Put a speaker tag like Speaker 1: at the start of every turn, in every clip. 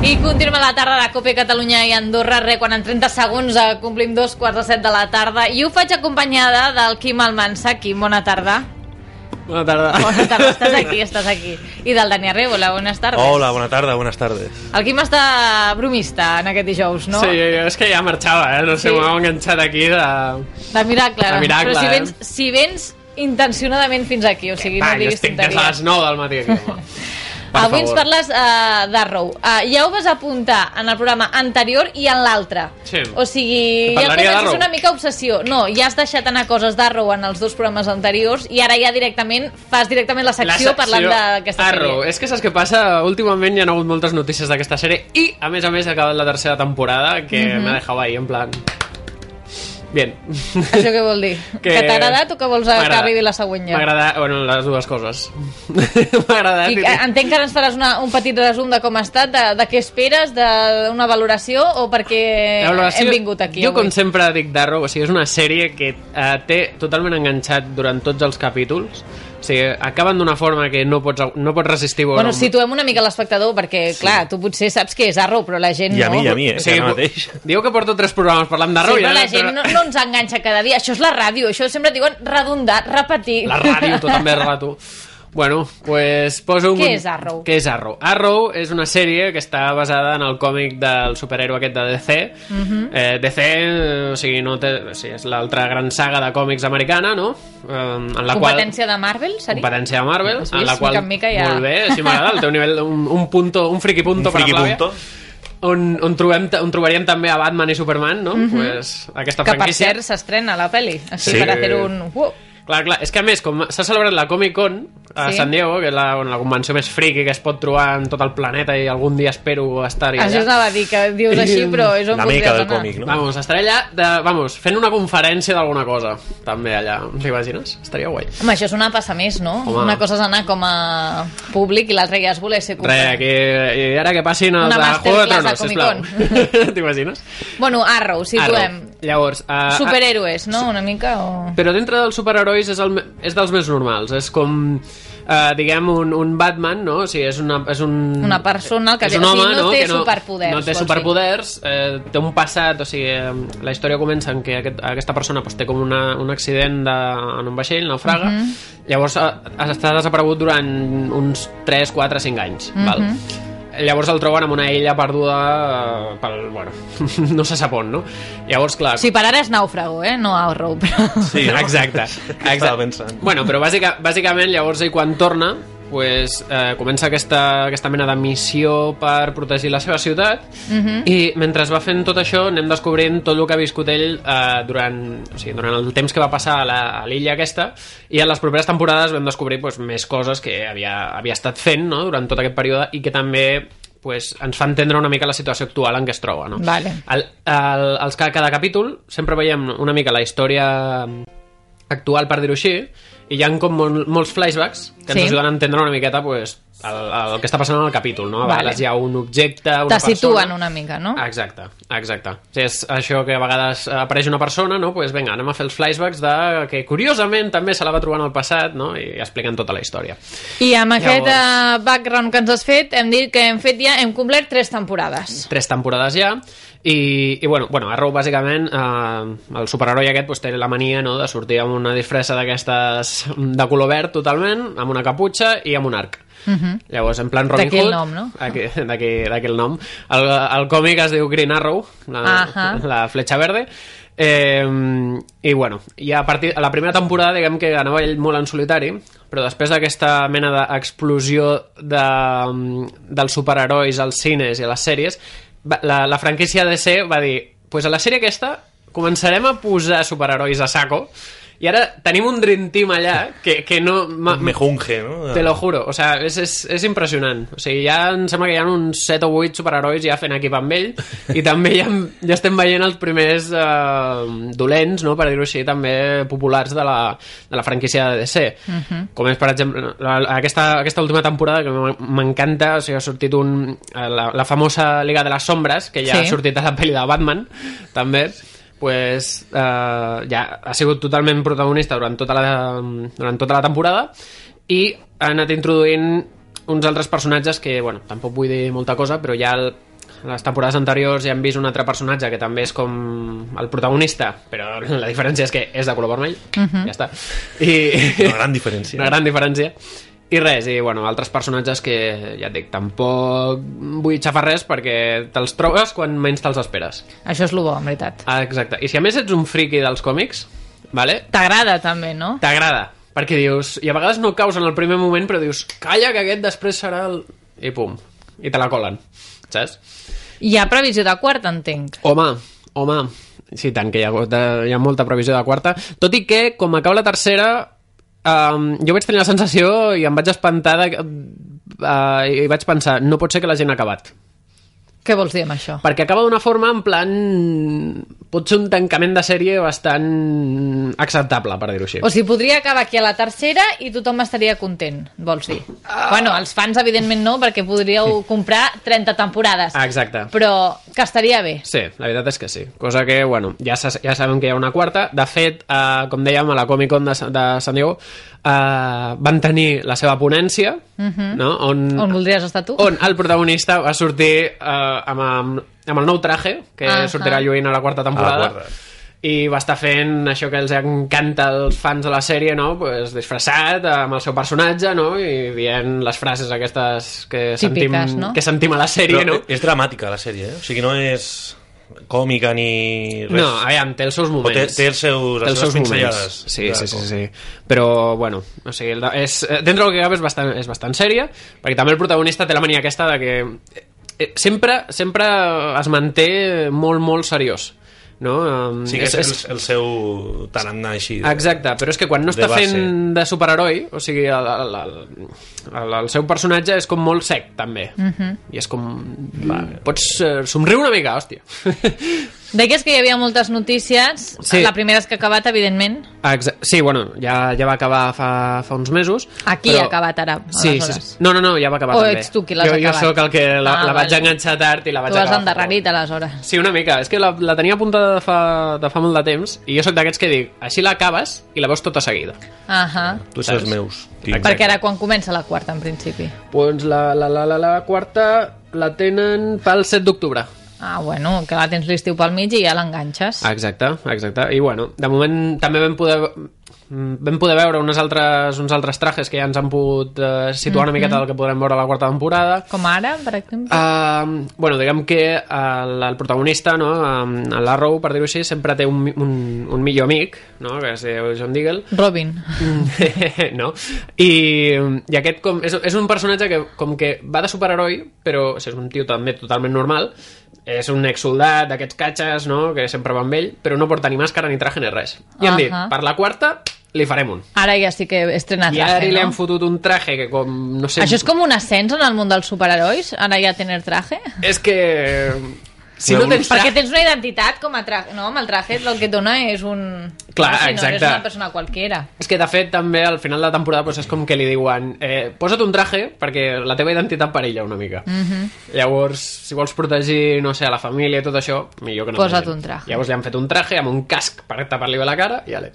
Speaker 1: I continuem a la tarda de Copa Catalunya i Andorra, re, quan en 30 segons eh, complim dos quarts de set de la tarda. I ho faig acompanyada del Quim Almansa. Quim, bona tarda.
Speaker 2: Bona tarda.
Speaker 1: Bona tarda, estàs aquí, estàs aquí. I del Dani Arrebola, buenas tardes.
Speaker 3: Hola, bona tarda, buenas tardes.
Speaker 1: El Quim està bromista en aquest dijous, no?
Speaker 2: Sí, jo és que ja marxava, eh? No sé,
Speaker 1: Sí.
Speaker 2: sí. m'heu enganxat aquí de...
Speaker 1: De miracle.
Speaker 2: De miracle,
Speaker 1: Però si
Speaker 2: eh?
Speaker 1: vens, si vens intencionadament fins aquí, o sigui, no
Speaker 2: Va, jo
Speaker 1: diguis
Speaker 2: estic des de
Speaker 1: tonteries.
Speaker 2: les 9 del matí aquí, home. Per
Speaker 1: Avui ens
Speaker 2: favor.
Speaker 1: parles uh, d'Arrow. Uh, ja ho vas apuntar en el programa anterior i en l'altre.
Speaker 2: Sí.
Speaker 1: O sigui, ja
Speaker 2: Que parlaria
Speaker 1: comences
Speaker 2: d'Arrow.
Speaker 1: una mica obsessió. No, ja has deixat anar coses d'Arrow en els dos programes anteriors i ara ja directament fas directament la secció, parlant d'aquesta
Speaker 2: Arrow.
Speaker 1: sèrie.
Speaker 2: És que saps què passa? Últimament hi ha hagut moltes notícies d'aquesta sèrie i, a més a més, ha acabat la tercera temporada
Speaker 1: Mhm.
Speaker 2: que mm -hmm. m'ha deixat ahí, en plan... Bien.
Speaker 1: Això què vol dir? Que, que t'ha agradat o que vols que
Speaker 2: M'agrada.
Speaker 1: arribi la següent
Speaker 2: M'ha
Speaker 1: ja?
Speaker 2: agradat, bueno, les dues coses. M'ha agradat.
Speaker 1: I,
Speaker 2: i-
Speaker 1: eh, entenc que ara ens faràs una, un petit resum de com ha estat, de, de què esperes, de- d'una valoració o perquè
Speaker 2: La valoració-
Speaker 1: Eh, hem vingut aquí
Speaker 2: Jo,
Speaker 1: avui.
Speaker 2: com sempre, dic Darrow, o sigui, és una sèrie que eh, té totalment enganxat durant tots els capítols. O sigui, acaben d'una forma que no pots, no pots resistir veure
Speaker 1: Bueno, situem una mica l'espectador, perquè, sí. clar, tu potser saps que és Arrow, però la gent
Speaker 3: I a
Speaker 1: no.
Speaker 3: mi, i a mi, eh, que ara
Speaker 2: po-
Speaker 3: mateix.
Speaker 2: Diu que porto tres programes parlant
Speaker 1: Sí,
Speaker 2: d'Arrow.
Speaker 1: però
Speaker 2: ja
Speaker 1: la gent no, no ens enganxa cada dia. Això és la ràdio, això sempre diuen redundar, repetir.
Speaker 2: La ràdio, tot també rato. Bueno, pues poso un...
Speaker 1: Què és Arrow?
Speaker 2: Què és Arrow? Arrow és una sèrie que està basada en el còmic del superhéroe aquest de DC.
Speaker 1: Mhm.
Speaker 2: eh, DC, eh, o sigui, no té, o sigui, és l'altra gran saga de còmics americana, no? Eh, en la qual...
Speaker 1: Competència de Marvel, seria?
Speaker 2: competència de Marvel,
Speaker 1: Has
Speaker 2: en la
Speaker 1: vist?
Speaker 2: qual...
Speaker 1: Mica en mica ja.
Speaker 2: Molt bé, així m'agrada, el teu nivell, un, un punto, un friki punto per
Speaker 3: Un friki
Speaker 2: a Flavia,
Speaker 3: punto.
Speaker 2: On, on, trobem, on trobaríem també a Batman i Superman, no? pues, aquesta
Speaker 1: Mhm. Que, per
Speaker 2: franquícia.
Speaker 1: cert, s'estrena la pel·li. Així,
Speaker 3: Sí.
Speaker 1: per fer un... Uh,
Speaker 2: Clar, clar, és que a més, com s'ha celebrat la Comic Con a
Speaker 1: Sí.
Speaker 2: sí. San Diego, que és la, bueno, la convenció més friki que es pot trobar en tot el planeta i algun dia espero estar allà.
Speaker 1: això anava a dir, que dius així, però és on
Speaker 3: La
Speaker 1: voldries
Speaker 3: meca del
Speaker 1: anar.
Speaker 3: còmic, no?
Speaker 2: Vamos, estaré allà de, vamos, fent una conferència d'alguna cosa, també allà, t'imagines? Estaria guai.
Speaker 1: Home, això és una passa més, no?
Speaker 2: Home.
Speaker 1: Una cosa és anar com a públic i l'altra ja és voler ser
Speaker 2: Re,
Speaker 1: company.
Speaker 2: que, i ara que passin els
Speaker 1: Una
Speaker 2: de Juego de Tronos,
Speaker 1: masterclass a
Speaker 2: sisplau. T'imagines?
Speaker 1: Bueno, Arrow, situem.
Speaker 2: Arrow. Llavors, uh,
Speaker 1: Superhéroes, no? Una mica o...
Speaker 2: Però dintre dels superherois és, el, me- és dels més normals. És com, eh, diguem, un, un Batman, no? O sigui, és una, és un,
Speaker 1: Una persona que-
Speaker 2: és un
Speaker 1: o sigui,
Speaker 2: home,
Speaker 1: no
Speaker 2: no?
Speaker 1: té
Speaker 2: que no,
Speaker 1: superpoders,
Speaker 2: No té
Speaker 1: vols
Speaker 2: superpoders, eh, té un passat, o sigui, eh, la història comença en que aquest, aquesta persona pues, té com una, un accident de, en un vaixell, naufraga,
Speaker 1: Mhm.
Speaker 2: llavors eh, està desaparegut durant uns 3, 4, 5 anys.
Speaker 1: Mhm.
Speaker 2: val? Llavors el troben en una illa perduda eh, pel... Bueno, no se sap on, no? Llavors, clar...
Speaker 1: Sí, per ara és nàufrago, eh? No Arrow, però...
Speaker 3: Sí, no?
Speaker 2: Exacte.
Speaker 3: Què
Speaker 2: Exacte.
Speaker 3: estava pensant?
Speaker 2: Bueno, però bàsica, bàsicament llavors ell quan torna pues, eh, comença aquesta, aquesta mena de missió per protegir la seva ciutat i mentre es va fent tot això anem descobrint tot el que ha viscut ell eh, durant, o sigui, durant el temps que va passar a la- a l'illa aquesta i en les properes temporades vam descobrir pues, més coses que havia, havia estat fent no? durant tot aquest període i que també pues, ens fa entendre una mica la situació actual en què es troba. No?
Speaker 1: Vale.
Speaker 2: El, el, els, ca- cada capítol sempre veiem una mica la història mm, actual, per dir-ho així, i hi ha com mol, molts flashbacks que ens
Speaker 1: Sí.
Speaker 2: ajuden a entendre una miqueta pues, el, el que està passant en el capítol, no? A
Speaker 1: Vale.
Speaker 2: vegades hi ha un objecte, una
Speaker 1: Te
Speaker 2: persona... Ah,
Speaker 1: situen una mica, no?
Speaker 2: Exacte, exacte. O sigui, és això que a vegades apareix una persona, no? Pues vinga, anem a fer els flashbacks de... que curiosament també se la va trobar en el passat, no? I expliquen tota la història.
Speaker 1: I amb aquest
Speaker 2: Llavors-
Speaker 1: eh, background que ens has fet, hem dit que hem fet ja, hem complert tres temporades.
Speaker 2: tres temporades ja i, i bueno, bueno, Arrow bàsicament eh, el superheroi aquest pues, té la mania no, de sortir amb una disfressa d'aquestes de color verd totalment, amb una caputxa i amb un arc uh -huh. llavors en plan Robin
Speaker 1: D'aquí el
Speaker 2: Hood
Speaker 1: Mhm. nom, no?
Speaker 2: d'aquí d'aquí- d'aquí el nom el, el còmic es diu Green Arrow la,
Speaker 1: Ahà.
Speaker 2: la fletxa verde Eh, I bueno, i a partir a la primera temporada diguem que anava ell molt en solitari, però després d'aquesta mena d'explosió de, dels superherois als cines i a les sèries, va- la, la franquícia DC va dir pues a la sèrie aquesta començarem a posar superherois a saco i ara tenim un Dream Team allà que, que no... ma-
Speaker 3: Mejunge, ¿no?
Speaker 2: Te lo juro, o sea, és, és, és impressionant. O sigui, ja em sembla que hi ha uns 7 o 8 superherois ja fent equip amb ell i també ja, ja estem veient els primers eh, dolents, no?, per dir-ho així, també populars de la, de la franquícia de DC. Com és, per exemple, la, aquesta, aquesta última temporada que m'en- m'encanta, o sigui, ha sortit un, eh, la, la famosa Liga de les Sombres, que ja
Speaker 1: Sí.
Speaker 2: ha sortit a la pel·li de Batman, també, pues, eh, ja ha sigut totalment protagonista durant tota la, durant tota la temporada i ha anat introduint uns altres personatges que, bueno, tampoc vull dir molta cosa, però ja el, les temporades anteriors ja hem vist un altre personatge que també és com el protagonista, però la diferència és que és de color vermell, ja està. I,
Speaker 3: Una gran diferència.
Speaker 2: una gran diferència. I res, i bueno, altres personatges que, ja et dic, tampoc vull xafar res perquè te'ls trobes quan menys te'ls esperes.
Speaker 1: Això és el bo, en veritat.
Speaker 2: Ah, Exacte. I si a més ets un friki dels còmics, vale?
Speaker 1: T'agrada també, no?
Speaker 2: t'agrada. Perquè dius... I a vegades no caus en el primer moment, però dius... Calla, que aquest després serà el... I pum. I te la colen. Saps?
Speaker 1: Hi ha previsió de quarta, entenc.
Speaker 2: Home, home... Sí, tant, que hi ha, hagut de- hi ha molta previsió de quarta. Tot i que, com acaba la tercera, um, jo vaig tenir la sensació i em vaig espantar de, que- eh, i vaig pensar, no pot ser que la gent ha acabat.
Speaker 1: Què vols dir amb això?
Speaker 2: Perquè acaba d'una forma en plan... Pot ser un tancament de sèrie bastant acceptable, per dir-ho així.
Speaker 1: O sigui, podria acabar aquí a la tercera i tothom estaria content, vols dir?
Speaker 2: Ah.
Speaker 1: Bueno, els fans, evidentment, no, perquè podríeu comprar 30 temporades.
Speaker 2: Exacte.
Speaker 1: Però que estaria bé.
Speaker 2: Sí, la veritat és que sí. Cosa que, bueno, ja, se, ja sabem que hi ha una quarta. De fet, eh, com dèiem, a la Comic Con de, Sa- de San Diego eh, van tenir la seva ponència, no? on,
Speaker 1: Mhm. On voldries estar tu?
Speaker 2: on el protagonista va sortir eh, amb, amb, amb el nou traje, que
Speaker 1: Ahà.
Speaker 2: sortirà lluint a la quarta temporada.
Speaker 3: A la quarta.
Speaker 2: I va estar fent això que els encanta als fans de la sèrie, no? Pues, disfressat, eh, amb el seu personatge, no? I dient les frases aquestes que,
Speaker 1: Típiques,
Speaker 2: sentim,
Speaker 1: no?
Speaker 2: que sentim a la sèrie, no?
Speaker 3: Però és dramàtica, la sèrie, eh? O sigui, no és còmica ni res.
Speaker 2: No, aviam, té els seus moments.
Speaker 3: té- té els seus- les
Speaker 2: té els seus
Speaker 3: seves
Speaker 2: moments.
Speaker 3: pinzellades.
Speaker 2: Sí,
Speaker 3: Clar,
Speaker 2: sí, sí,
Speaker 3: com-
Speaker 2: sí. Però, bueno, o sigui, el de- és, eh, dentro del que cap és bastant, és bastant sèria, perquè també el protagonista té la mania aquesta de que eh, eh, sempre, sempre es manté molt, molt seriós. No? Um,
Speaker 3: Sí que és, és el, el seu tarannà així. de-
Speaker 2: Exacte, però és que quan no
Speaker 3: de
Speaker 2: està
Speaker 3: base.
Speaker 2: fent de superheroi, o sigui, el, el, el, el, el seu personatge és com molt sec, també.
Speaker 1: Mhm.
Speaker 2: I és com... Va, pots eh, somriure una mica, hòstia.
Speaker 1: Deies que hi havia moltes notícies.
Speaker 2: Sí.
Speaker 1: La primera és que ha acabat, evidentment.
Speaker 2: Exa sí, bueno, ja, ja va acabar fa, fa uns mesos.
Speaker 1: Aquí
Speaker 2: però-
Speaker 1: ha acabat ara,
Speaker 2: Sí, sí,
Speaker 1: aleshores.
Speaker 2: sí. No, no, no, ja va acabar
Speaker 1: O
Speaker 2: també.
Speaker 1: ets tu qui l'has
Speaker 2: jo,
Speaker 1: acabat?
Speaker 2: Jo sóc el que la,
Speaker 1: Ah,
Speaker 2: la vaig
Speaker 1: vale.
Speaker 2: enganxar tard i la vaig
Speaker 1: Tu has
Speaker 2: acabar.
Speaker 1: endarrerit, aleshores.
Speaker 2: Sí, una mica. És que la, la tenia apuntada de fa, de fa molt de temps i jo sóc d'aquests que dic, així l'acabes i la veus tota seguida.
Speaker 1: Ahà.
Speaker 3: Tu ets els
Speaker 2: Saps?
Speaker 3: meus. tio.
Speaker 2: Exacte.
Speaker 1: Perquè ara quan comença la quarta, en principi.
Speaker 2: Doncs la, la, la, la, la quarta la tenen pel 7 d'octubre.
Speaker 1: Ah, bueno, que la tens l'estiu pel mig i ja l'enganxes.
Speaker 2: Exacte, exacte. I bueno, de moment també vam poder mm, vam poder veure unes altres, uns altres trajes que ja ens han pogut eh, situar una
Speaker 1: Mhm.
Speaker 2: miqueta del que podrem veure a la quarta temporada.
Speaker 1: Com ara, per exemple.
Speaker 2: Uh, bueno, diguem que el, el protagonista, no, um, l'Arrow, per dir-ho així, sempre té un, mi- un, un millor amic, no, que es diu John Deagle,
Speaker 1: Robin.
Speaker 2: Mm, no? I, i aquest com, és, és un personatge que com que va de superheroi, però o sigui, és un tio també totalment normal, és un exsoldat d'aquests catxes, no? que sempre va amb ell, però no porta ni màscara ni traje ni res. I han dit,
Speaker 1: Ahà.
Speaker 2: per la quarta, li farem un.
Speaker 1: Ara ja sí que estrena
Speaker 2: I ara
Speaker 1: traje,
Speaker 2: li han
Speaker 1: no?
Speaker 2: fotut un traje que com, no sé...
Speaker 1: Això és com un ascens en el món dels superherois, ara ja tenir traje?
Speaker 2: És que... Si
Speaker 3: Una
Speaker 2: no tens
Speaker 1: Perquè
Speaker 2: traje...
Speaker 1: tens una identitat com a traje, no? Amb el traje el que et dona és un...
Speaker 2: Clar,
Speaker 1: no, si no,
Speaker 2: exacte.
Speaker 1: No, una persona qualquiera.
Speaker 2: És que, de fet, també al final de la temporada doncs, és com que li diuen eh, posa't un traje perquè la teva identitat perilla una mica. Mm
Speaker 1: Mhm.
Speaker 2: -hmm. Llavors, si vols protegir, no sé, a la família i tot això, millor que no
Speaker 1: Posa't
Speaker 2: vagin.
Speaker 1: un traje.
Speaker 2: Llavors li han fet un traje amb un casc per tapar-li bé la cara i, ale.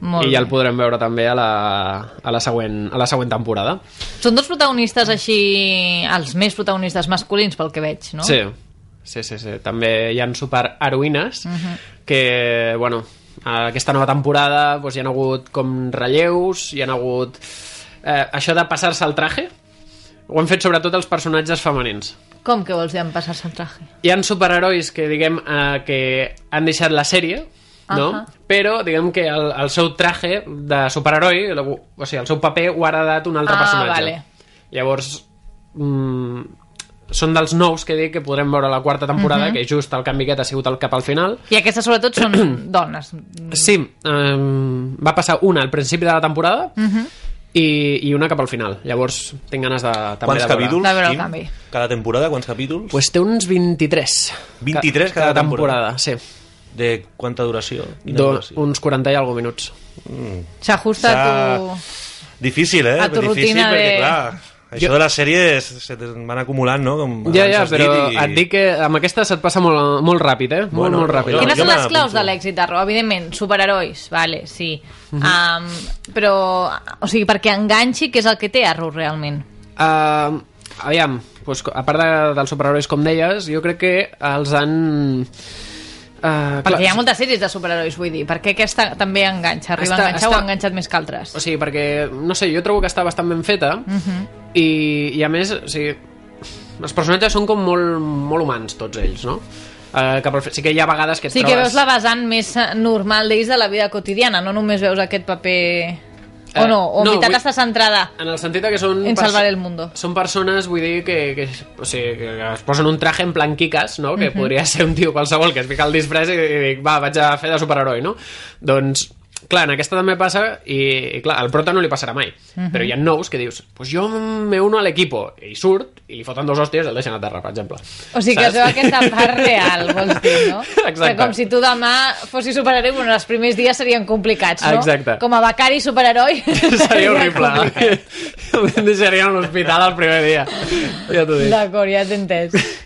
Speaker 1: Molt
Speaker 2: I ja el
Speaker 1: bé.
Speaker 2: podrem veure també a la, a la, següent, a la següent temporada.
Speaker 1: Són dos protagonistes així, els més protagonistes masculins pel que veig, no?
Speaker 2: Sí, sí, sí, sí. També hi ha superheroïnes que, bueno, a aquesta nova temporada doncs, hi han hagut com relleus, hi han hagut... Eh, això de passar-se el traje, ho han fet sobretot els personatges femenins.
Speaker 1: Com que vols dir en passar-se el traje?
Speaker 2: Hi han superherois que, diguem, eh, que han deixat la sèrie no?
Speaker 1: Ahà.
Speaker 2: Però, diguem que el, el seu traje de superheroi, la- o sigui, el seu paper ho ha heredat un altre
Speaker 1: Ah,
Speaker 2: personatge.
Speaker 1: vale.
Speaker 2: Llavors, mm, són dels nous que dic que podrem veure a la quarta temporada, que just el canvi aquest ha sigut el cap al final.
Speaker 1: I aquestes sobretot són dones.
Speaker 2: Sí, um, va passar una al principi de la temporada i, i una cap al final. Llavors, tinc ganes de, també
Speaker 3: Quants
Speaker 2: de veure.
Speaker 3: capítols?
Speaker 1: De veure el
Speaker 3: Quim?
Speaker 1: canvi.
Speaker 3: Cada temporada, quants capítols?
Speaker 2: Pues té uns 23.
Speaker 3: 23
Speaker 2: Ca-
Speaker 3: cada temporada.
Speaker 2: Sí.
Speaker 3: De quanta duració? Quina
Speaker 2: Do,
Speaker 3: duració?
Speaker 2: uns 40 i alguna minuts.
Speaker 1: S'ajusta a tu...
Speaker 3: Difícil, eh?
Speaker 1: A tu
Speaker 3: Difícil,
Speaker 1: rutina
Speaker 3: perquè,
Speaker 1: de-
Speaker 3: clar, això
Speaker 2: Jo-
Speaker 3: de les sèries se te van acumulant, no? Com
Speaker 2: Ja,
Speaker 3: abans
Speaker 2: ja,
Speaker 3: has
Speaker 2: però
Speaker 3: dit, i-
Speaker 2: et dic que amb aquesta se't passa molt, molt ràpid, eh? Molt,
Speaker 3: Bueno,
Speaker 2: molt ràpid.
Speaker 3: jo-
Speaker 1: Quines
Speaker 3: jo
Speaker 1: són
Speaker 3: me
Speaker 1: les claus
Speaker 3: l'apunto.
Speaker 1: de l'èxit de Raw? Evidentment, superherois, vale, sí.
Speaker 2: Mhm.
Speaker 1: um, però, o sigui, perquè enganxi, què és el que té a Raw realment?
Speaker 2: Uh, aviam, doncs, a part de, dels superherois, com deies, jo crec que els han... Uh,
Speaker 1: Perquè hi ha moltes sèries de superherois, vull dir. Per què aquesta també enganxa? Arriba
Speaker 2: Està-
Speaker 1: a enganxar o
Speaker 2: està-
Speaker 1: ha enganxat més que altres?
Speaker 2: O sigui, perquè, no sé, jo trobo que està bastant ben feta
Speaker 1: Mhm.
Speaker 2: i, i a més, o sigui, els personatges són com molt, molt humans, tots ells, no? Uh, que, per- sí que hi ha vegades que et
Speaker 1: Sí que
Speaker 2: trobes...
Speaker 1: veus la vessant més eh, normal d'ells de la vida quotidiana, no només veus aquest paper... O
Speaker 2: Eh,
Speaker 1: no, o
Speaker 2: no,
Speaker 1: no, veritat
Speaker 2: vull-
Speaker 1: està centrada.
Speaker 2: En el sentit de que són...
Speaker 1: En
Speaker 2: perso-
Speaker 1: salvar el mundo.
Speaker 2: Són persones, vull dir, que, que, o sigui, que es posen un traje en plan quiques, no? Que podria ser un tio qualsevol que es fica el disfress i, i dic, va, vaig a fer de superheroi, no? Doncs, clar, en aquesta també passa i, i clar, al prota no li passarà mai. Però hi ha nous que dius, pues jo me uno a l'equipo. I surt, i li foten dos hòsties i el deixen a terra, per exemple.
Speaker 1: O sigui que es veu aquesta part real, vols dir, no?
Speaker 2: Exacte.
Speaker 1: Que com si tu demà fossis superheroi, bueno, els primers dies serien complicats, no?
Speaker 2: Exacte.
Speaker 1: Com a becari superheroi...
Speaker 2: Seria horrible.
Speaker 1: complicat.
Speaker 2: Em deixaria en l'hospital el primer dia. Ja t'ho dic.
Speaker 1: D'acord, ja t'he entès.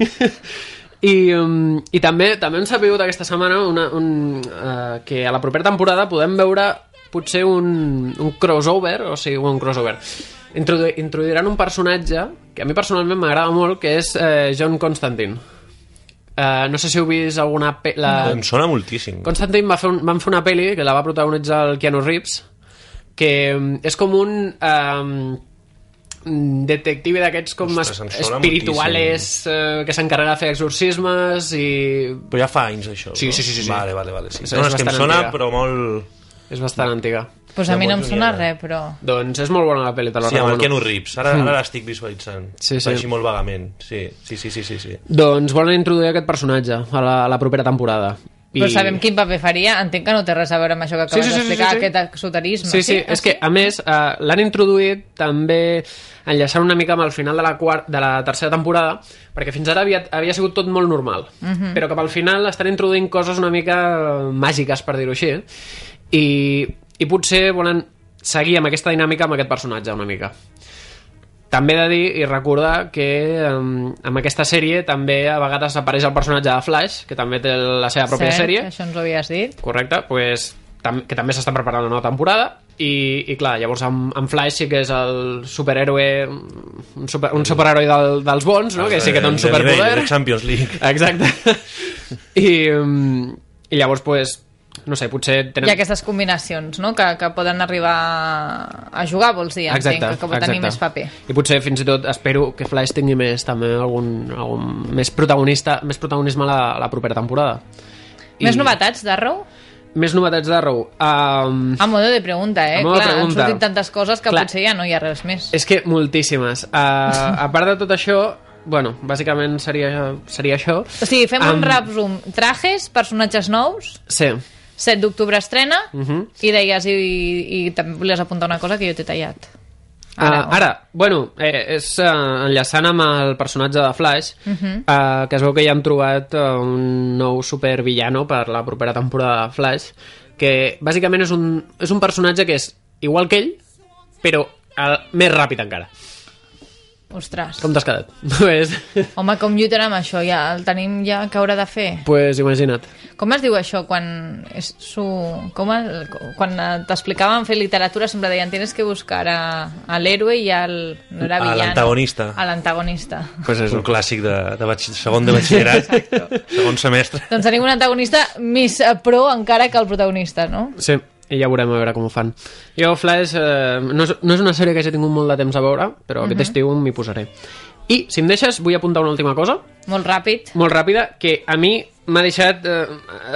Speaker 2: I, um, i també també hem sabut aquesta setmana una, un, uh, que a la propera temporada podem veure potser un, un crossover, o sigui, un crossover. Introdu introduiran un personatge que a mi personalment m'agrada molt, que és eh, John Constantine. Uh, no sé si heu vist alguna... pe- La...
Speaker 3: Em sona moltíssim.
Speaker 2: Constantine va fer un, van fer una pel·li que la va protagonitzar el Keanu Reeves que mm, és com un um, detective d'aquests com es,
Speaker 3: Ostres, em sona
Speaker 2: espirituales eh, que s'encarrega de fer exorcismes i
Speaker 3: Però ja fa anys, això,
Speaker 2: Sí,
Speaker 3: no?
Speaker 2: sí, sí, sí, sí.
Speaker 3: Vale, vale, vale, sí.
Speaker 2: És-
Speaker 3: No, no,
Speaker 2: és
Speaker 3: és que em
Speaker 2: bastant
Speaker 3: sona,
Speaker 2: antiga.
Speaker 3: però molt...
Speaker 2: és bastant antiga
Speaker 1: pues a mi no em
Speaker 3: Llavors,
Speaker 1: sona
Speaker 3: Juliana.
Speaker 1: res, però...
Speaker 2: doncs és molt bona la pel·li te la
Speaker 3: Sí, amb el
Speaker 2: recomano.
Speaker 3: Keanu Reeves. Ara, ara l'estic visualitzant.
Speaker 2: Mm. Sí, sí.
Speaker 3: Així molt vagament. Sí, sí, sí, sí, sí. sí.
Speaker 2: doncs volen introduir aquest personatge a la, a la propera temporada
Speaker 1: I... Però sabem quin paper faria? Entenc que no té res a veure amb això que acabes
Speaker 2: sí, sí, sí,
Speaker 1: d'explicar,
Speaker 2: sí.
Speaker 1: aquest esoterisme.
Speaker 2: Sí, sí, és que, a més, eh, l'han introduït també enllaçant una mica amb el final de la, quart de la tercera temporada, perquè fins ara havia, havia sigut tot molt normal. Però cap al final estan introduint coses una mica eh, màgiques, per dir-ho així, eh? i, i potser volen seguir amb aquesta dinàmica amb aquest personatge una mica. També he de dir i recordar que um, amb aquesta sèrie també a vegades apareix el personatge de Flash, que també té la seva pròpia
Speaker 1: Cert,
Speaker 2: sèrie.
Speaker 1: Això ens ho havies dit.
Speaker 2: Correcte, pues, tam que també s'està preparant una nova temporada i, i clar, llavors en, en Flash sí que és el superhéroe un, super, un superheroi del, dels bons no? que sí que té un
Speaker 3: Eh, De nivell,
Speaker 2: superpoder
Speaker 3: De Champions League.
Speaker 2: exacte i, mm, i llavors pues, no sé, potser
Speaker 1: Hi
Speaker 2: tenen...
Speaker 1: ha aquestes combinacions, no?, que, que poden arribar a jugar, vols dir, entenc,
Speaker 2: Exacte,
Speaker 1: que, que pot
Speaker 2: exacte.
Speaker 1: tenir més paper.
Speaker 2: I potser fins i tot espero que Flash tingui més també algun, algun més protagonista, més protagonisme a la, a la propera temporada. I-
Speaker 1: Més novetats d'Arrow?
Speaker 2: Més novetats d'Arrow. Um,
Speaker 1: A modo de pregunta, eh?
Speaker 2: A modo de
Speaker 1: Clar,
Speaker 2: pregunta.
Speaker 1: han sortit tantes coses que
Speaker 2: Clar.
Speaker 1: potser ja no hi ha res més.
Speaker 2: És que moltíssimes. Uh, a part de tot això, bueno, bàsicament seria, seria això.
Speaker 1: O sigui, fem
Speaker 2: Am-
Speaker 1: un resum. Trajes, personatges nous,
Speaker 2: Sí.
Speaker 1: 7 d'octubre estrena,
Speaker 2: Mhm.
Speaker 1: i deies, i, i, i també volies apuntar una cosa que jo t'he tallat.
Speaker 2: Ara,
Speaker 1: Ara.
Speaker 2: uh, ara bueno, eh, és uh, enllaçant amb el personatge de Flash, uh -huh. uh, que es veu que ja hem trobat uh, un nou supervillano per la propera temporada de Flash, que bàsicament és un, és un personatge que és igual que ell, però uh, més ràpid encara.
Speaker 1: Ostres.
Speaker 2: Com t'has quedat? pues,
Speaker 1: Home, com lluitarà amb això? Ja el tenim ja que haurà de fer.
Speaker 2: pues imagina't.
Speaker 1: Com es diu això quan... És su... com el... Quan eh, t'explicaven fer literatura sempre deien tienes que buscar a, a l'héroe i al... No era
Speaker 3: A
Speaker 1: villano.
Speaker 3: l'antagonista.
Speaker 1: A l'antagonista.
Speaker 3: Pues és un clàssic de, de batx... segon de batxillerat, segon semestre.
Speaker 1: doncs tenim un antagonista més eh, pro encara que el protagonista, no?
Speaker 2: Sí, i ja veurem a veure com ho fan. Jo, Flash, eh, no, és, no és una sèrie que hagi tingut molt de temps a veure, però aquest estiu m'hi posaré. I, si em deixes, vull apuntar una última cosa,
Speaker 1: Molt ràpid.
Speaker 2: molt ràpida, que a mi m'ha deixat... Eh,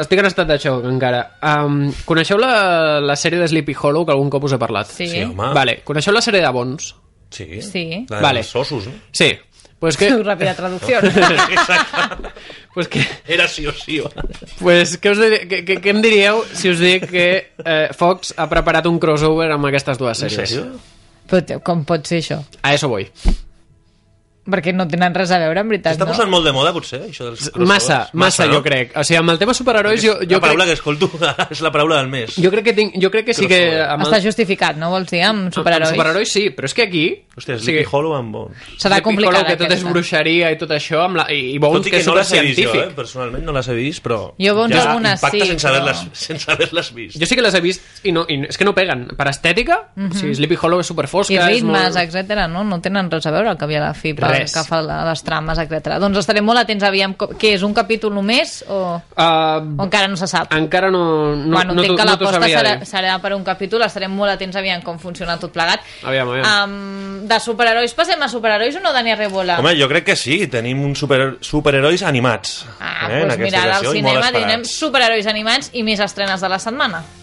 Speaker 2: estic en estat de xoc, encara. Um, coneixeu la, la sèrie de Sleepy Hollow, que algun cop us he parlat?
Speaker 1: Sí.
Speaker 3: Sí, home.
Speaker 2: Vale, coneixeu la sèrie de Bons?
Speaker 3: Sí.
Speaker 1: Sí.
Speaker 3: La de
Speaker 2: Vale.
Speaker 3: els ossos, no?
Speaker 2: Sí. Pues que...
Speaker 1: Ràpida traducció.
Speaker 3: Exacte.
Speaker 2: Pues que...
Speaker 3: Era sí o sí. home.
Speaker 2: Pues, què, us diré, què, què, què em diríeu si us dic que eh, Fox ha preparat un crossover amb aquestes dues
Speaker 3: En
Speaker 2: sèries?
Speaker 3: sèrio?
Speaker 1: Però te- com pot ser això?
Speaker 2: A eso voy.
Speaker 1: Perquè no tenen res a veure, en veritat,
Speaker 3: S'està
Speaker 1: no?
Speaker 3: posant molt de moda, potser, això dels
Speaker 2: Massa, massa, massa
Speaker 3: no?
Speaker 2: jo crec. O sigui, amb el tema superherois jo,
Speaker 3: la
Speaker 2: jo
Speaker 3: paraula
Speaker 2: crec...
Speaker 3: que escolto ara és la paraula del mes.
Speaker 2: Jo crec que, tinc, jo crec que sí que...
Speaker 3: Crossover.
Speaker 2: Amb el-
Speaker 1: Està justificat, no vols dir, amb superherois?
Speaker 2: Amb superherois sí, però és que aquí...
Speaker 3: Hòstia, Sleepy Hollow amb bons.
Speaker 1: Serà
Speaker 2: Sleepy Hollow,
Speaker 1: complicada
Speaker 2: que tot és
Speaker 1: aquesta.
Speaker 2: bruixeria i tot això, amb la, i, i Bones,
Speaker 3: Tot
Speaker 2: que,
Speaker 3: i que
Speaker 2: és
Speaker 3: no les he vist jo, eh?
Speaker 2: supercientífic.
Speaker 3: Personalment no les he vist, però...
Speaker 1: Jo Bones
Speaker 3: ja
Speaker 1: algunes
Speaker 3: impacta
Speaker 1: sí,
Speaker 3: sense
Speaker 1: però-
Speaker 3: haver-les sense haver-les vist.
Speaker 2: Jo sí que les he vist i, no, i és que no peguen. Per estètica, mm -hmm. sí, Sleepy Hollow és superfosca.
Speaker 1: Mhm. I
Speaker 2: és molt...
Speaker 1: ritmes, etc. No? no tenen res a veure al cap i a la fi pel
Speaker 2: Res.
Speaker 1: que fa a les trames, etc. Doncs estarem molt atents, aviam, co- què és, un capítol només o,
Speaker 2: Uh,
Speaker 1: o encara no se sap?
Speaker 2: encara no, no,
Speaker 1: bueno,
Speaker 2: no,
Speaker 1: entenc
Speaker 2: t'ho-
Speaker 1: que
Speaker 2: no t'ho
Speaker 1: l'aposta
Speaker 2: sabria
Speaker 1: serà,
Speaker 2: dir.
Speaker 1: serà per un capítol, estarem molt atents aviam com funciona tot plegat.
Speaker 2: Aviam, aviam.
Speaker 1: Um, de superherois, passem a superherois o no, Dani Rebola?
Speaker 3: Home, jo crec que sí, tenim un super, superherois animats.
Speaker 1: ah,
Speaker 3: eh, en
Speaker 1: doncs
Speaker 3: aquesta
Speaker 1: mira, ara al
Speaker 3: ocasió, i molt
Speaker 1: cinema
Speaker 3: esperats.
Speaker 1: tindrem superherois animats i més estrenes de la setmana.